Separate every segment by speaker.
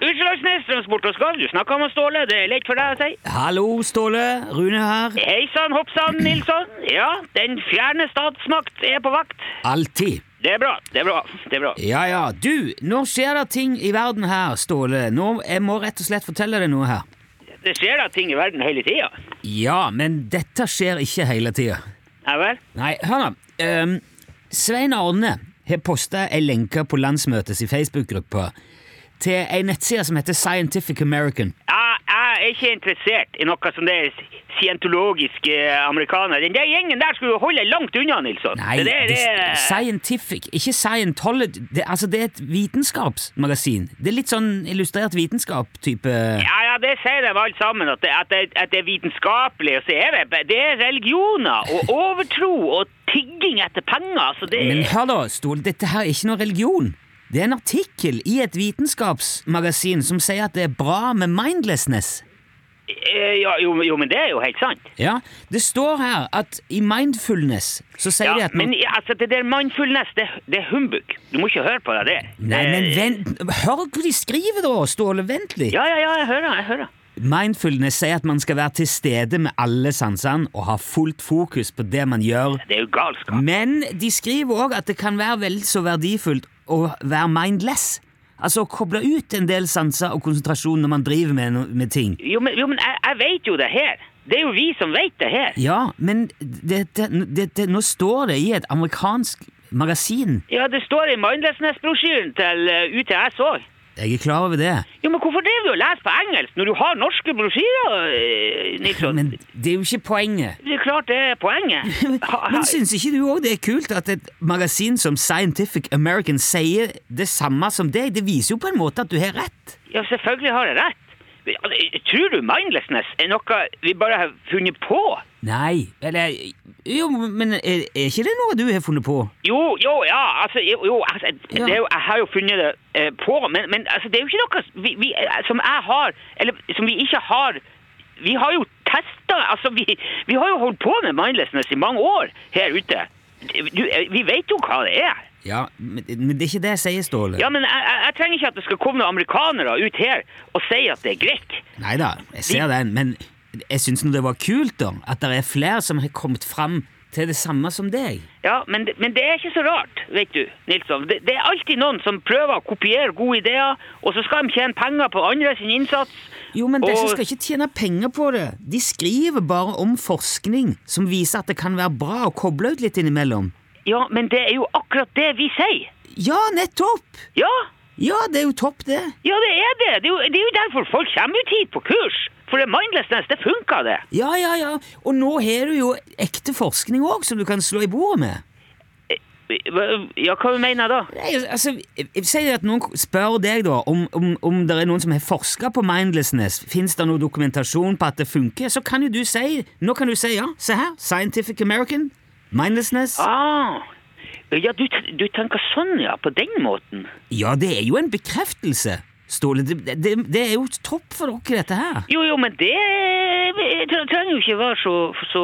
Speaker 1: Utslagsnes Transport og Skarv, du snakka med Ståle, det er lett for deg å si.
Speaker 2: Hallo, Ståle. Rune her.
Speaker 1: Hei sann, hopp sann, Nilsson. Ja, den fjerne statsmakt er på vakt.
Speaker 2: Alltid.
Speaker 1: Det er bra, det er bra. det er bra.
Speaker 2: Ja, ja. Du, nå skjer det ting i verden her, Ståle. Nå, jeg må rett og slett fortelle deg noe her.
Speaker 1: Det skjer da ting i verden hele tida.
Speaker 2: Ja, men dette skjer ikke hele tida.
Speaker 1: Ja vel?
Speaker 2: Nei, hør nå. Ehm, Svein Arne har posta ei lenke på landsmøtets Facebook-gruppe til ei nettside som heter Scientific American.
Speaker 1: Jeg, jeg er ikke interessert i noe som det er scientologiske amerikanere. Den der gjengen der skulle du holde langt unna, Nilsson.
Speaker 2: Nei,
Speaker 1: det der
Speaker 2: det,
Speaker 1: er
Speaker 2: Scientific, ikke Scientology. Det, altså, det er et vitenskapsmagasin. Det er litt sånn illustrert vitenskap-type
Speaker 1: Ja, ja, det sier de alle sammen, at det, at det, at det er vitenskapelig. Og så er det, det er religioner og overtro og tigging etter penger. Altså, det
Speaker 2: Men hør da, Ståle, dette her er ikke noe religion. Det er en artikkel i et vitenskapsmagasin som sier at det er bra med mindlessness.
Speaker 1: Eh, ja, jo, jo, men det er jo helt sant.
Speaker 2: Ja, Det står her at i mindfulness så sier
Speaker 1: Ja,
Speaker 2: de at man
Speaker 1: men ja, altså, det der mindfulness, det, det er humbug. Du må ikke høre på det der.
Speaker 2: Nei,
Speaker 1: Det-
Speaker 2: men vent, hør hva de skriver da, Ståle, vent litt.
Speaker 1: Eh. Ja, ja, ja, jeg hører, jeg hører.
Speaker 2: Mindfulness sier at man skal være til stede med alle sansene og ha fullt fokus på det man gjør.
Speaker 1: Det er jo galskap.
Speaker 2: Men de skriver òg at det kan være vel så verdifullt å være mindless. Altså å koble ut en del sanser og konsentrasjon når man driver med, no- med ting.
Speaker 1: Jo, men, jo, men jeg, jeg vet jo det her. Det er jo vi som vet det her.
Speaker 2: Ja, men det, det, det, det, nå står det i et amerikansk magasin.
Speaker 1: Ja, det står i Mindlessness-brosjyren til eh, UTS òg.
Speaker 2: Jeg er klar over det.
Speaker 1: Jo, men hvorfor driver du og leser på engelsk når du har norske brosjyrer, eh, Nilsson?
Speaker 2: Men det er jo ikke poenget.
Speaker 1: Det er klart det er poenget. Ha, ha.
Speaker 2: Men syns ikke du òg det er kult at et magasin som Scientific American sier det samme som deg? Det viser jo på en måte at du har rett.
Speaker 1: Ja, selvfølgelig har jeg rett. Ja, Tror du mindlessness er noe vi bare har funnet på?
Speaker 2: Nei, eller Jo, men er, er ikke det noe du har funnet på?
Speaker 1: Jo, jo, ja, altså, jo, jo altså, det er jo, jeg har jo funnet det eh, på, men, men altså, det er jo ikke noe vi, vi, eh, som jeg har, eller som vi ikke har. Vi har jo testa altså, vi, vi har jo holdt på med mindlessness i mange år her ute. Du, eh, vi vet jo hva det er.
Speaker 2: Ja, men, men det er ikke det jeg sier, Ståle.
Speaker 1: Ja, men jeg, jeg, jeg trenger ikke at det skal komme noen amerikanere ut her og si at det er greit.
Speaker 2: Nei da, jeg ser den, men jeg syns det var kult da, at det er flere som har kommet fram til det samme som deg.
Speaker 1: Ja, men, det- men det er ikke så rart, vet du, Nilsson. Det, det er alltid noen som prøver å kopiere gode ideer, og så skal de tjene penger på andre sin innsats.
Speaker 2: Jo, men disse
Speaker 1: Og-
Speaker 2: skal ikke tjene penger på det. De skriver bare om forskning som viser at det kan være bra å koble ut litt innimellom.
Speaker 1: Ja, men det er jo akkurat det vi sier.
Speaker 2: Ja, nettopp!
Speaker 1: Ja,
Speaker 2: Ja, det er jo topp, det.
Speaker 1: ja det er det. Det er, jo, det er jo derfor folk kommer ut hit på kurs. For det mindlessness, det funker det.
Speaker 2: Ja, ja, ja. Og nå har du jo ekte forskning òg, som du kan slå i bordet med.
Speaker 1: Hva- Ja, hva mener jeg da?
Speaker 2: Nei, altså, jeg- jeg sier at noen spør deg da om, om, om det er noen som har forska på mindlessness. Fins det noe dokumentasjon på at det funker? Så kan jo du si Nå kan du si ja. Se her. Scientific American. Mindlessness.
Speaker 1: Ah, ja, du, t- du tenker sånn, ja, på den måten.
Speaker 2: Ja, det er jo en bekreftelse, Ståle. Det, det, det er jo topp for dere, dette her.
Speaker 1: Jo, jo, men det eh, tre- trenger jo ikke være så, så,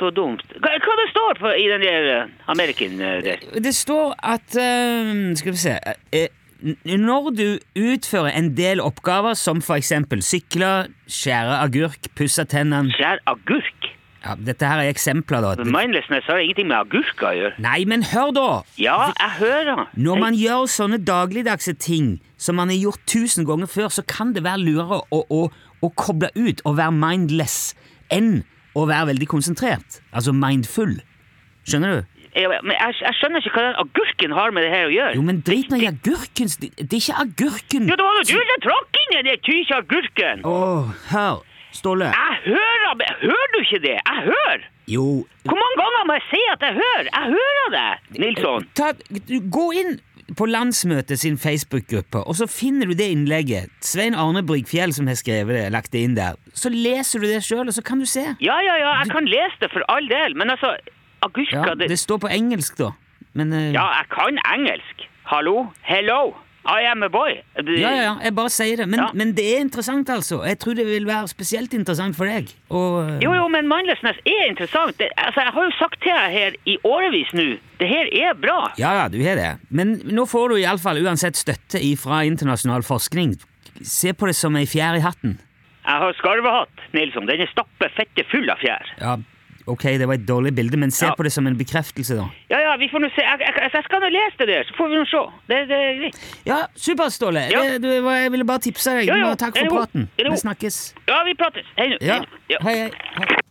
Speaker 1: så dumt. Hva, hva det står på i den der eh, American eh, der?
Speaker 2: Det står at eh, Skal vi se eh, n- Når du utfører en del oppgaver, som for eksempel sykle, skjære agurk, pusse tennene
Speaker 1: Skjær agurk.
Speaker 2: ja, Dette her er eksempler, da. Det-
Speaker 1: Mindlessness har ingenting med agurk å gjøre.
Speaker 2: Nei, men hør, da!
Speaker 1: Ja, jeg hører.
Speaker 2: Når man gjør sånne dagligdagse ting som man har gjort tusen ganger før, så kan det være lurere å, å, å koble ut og være mindless enn å være veldig konsentrert. Altså mindful. Skjønner du?
Speaker 1: Jeg, men jeg, jeg skjønner ikke hva den agurken har med det her å gjøre.
Speaker 2: Jo, men drit nå i agurken. Det, det er ikke agurken.
Speaker 1: Ja, det var jo du som trakk inn den der tysagurken!
Speaker 2: Å, hør, Ståle.
Speaker 1: Jeg hører det! Hører du ikke det? Jeg hører!
Speaker 2: Jo.
Speaker 1: Hvor mange ganger må jeg si at jeg hører? Jeg hører deg, Nilsson.
Speaker 2: Ta, du- gå inn på landsmøtet sin Facebook-gruppe, og så finner du det innlegget. Svein Arne Brygfjell som har skrevet det, lagt det inn der. Så leser du det sjøl, og så kan du se.
Speaker 1: Ja, ja, ja, jeg kan lese det for all del, men altså, agurka
Speaker 2: Ja,
Speaker 1: det...
Speaker 2: det står på engelsk, da. Men eh,
Speaker 1: Ja, jeg kan engelsk. Hallo? Hello? I am a boy. Det-
Speaker 2: ja, ja, ja, jeg bare sier det. Men,
Speaker 1: Ja.
Speaker 2: men det er interessant, altså. Jeg tror det vil være spesielt interessant for deg. Og, eh,
Speaker 1: Jo, jo, men mindlessness er interessant. Det, altså, jeg har jo sagt til deg her i årevis nå, det her er bra.
Speaker 2: Ja, ja, du har det. Men nå får du iallfall uansett støtte fra internasjonal forskning. Se på det som ei fjær i hatten.
Speaker 1: Jeg har skarvehatt, Nilsson. Den er stappe fette full av fjær.
Speaker 2: Ja, ok, det var et dårlig bilde, men se
Speaker 1: Ja.
Speaker 2: på det som en bekreftelse, da.
Speaker 1: Ja, ja, vi får nå se. Jeg, jeg, jeg- jeg skal nå lese det der, så får vi nå se. Det, det er greit.
Speaker 2: Ja, supert, Ståle.
Speaker 1: Ja.
Speaker 2: Det- det var- Jeg ville bare tipse deg.
Speaker 1: Jo, jo,
Speaker 2: Bare Takk
Speaker 1: er
Speaker 2: for
Speaker 1: det god?
Speaker 2: praten.
Speaker 1: Er det
Speaker 2: Vi
Speaker 1: god?
Speaker 2: snakkes.
Speaker 1: Ja, vi prates. Hei nå.
Speaker 2: Ja.
Speaker 1: Hei nå. Ja.
Speaker 2: Hei, hei. hei.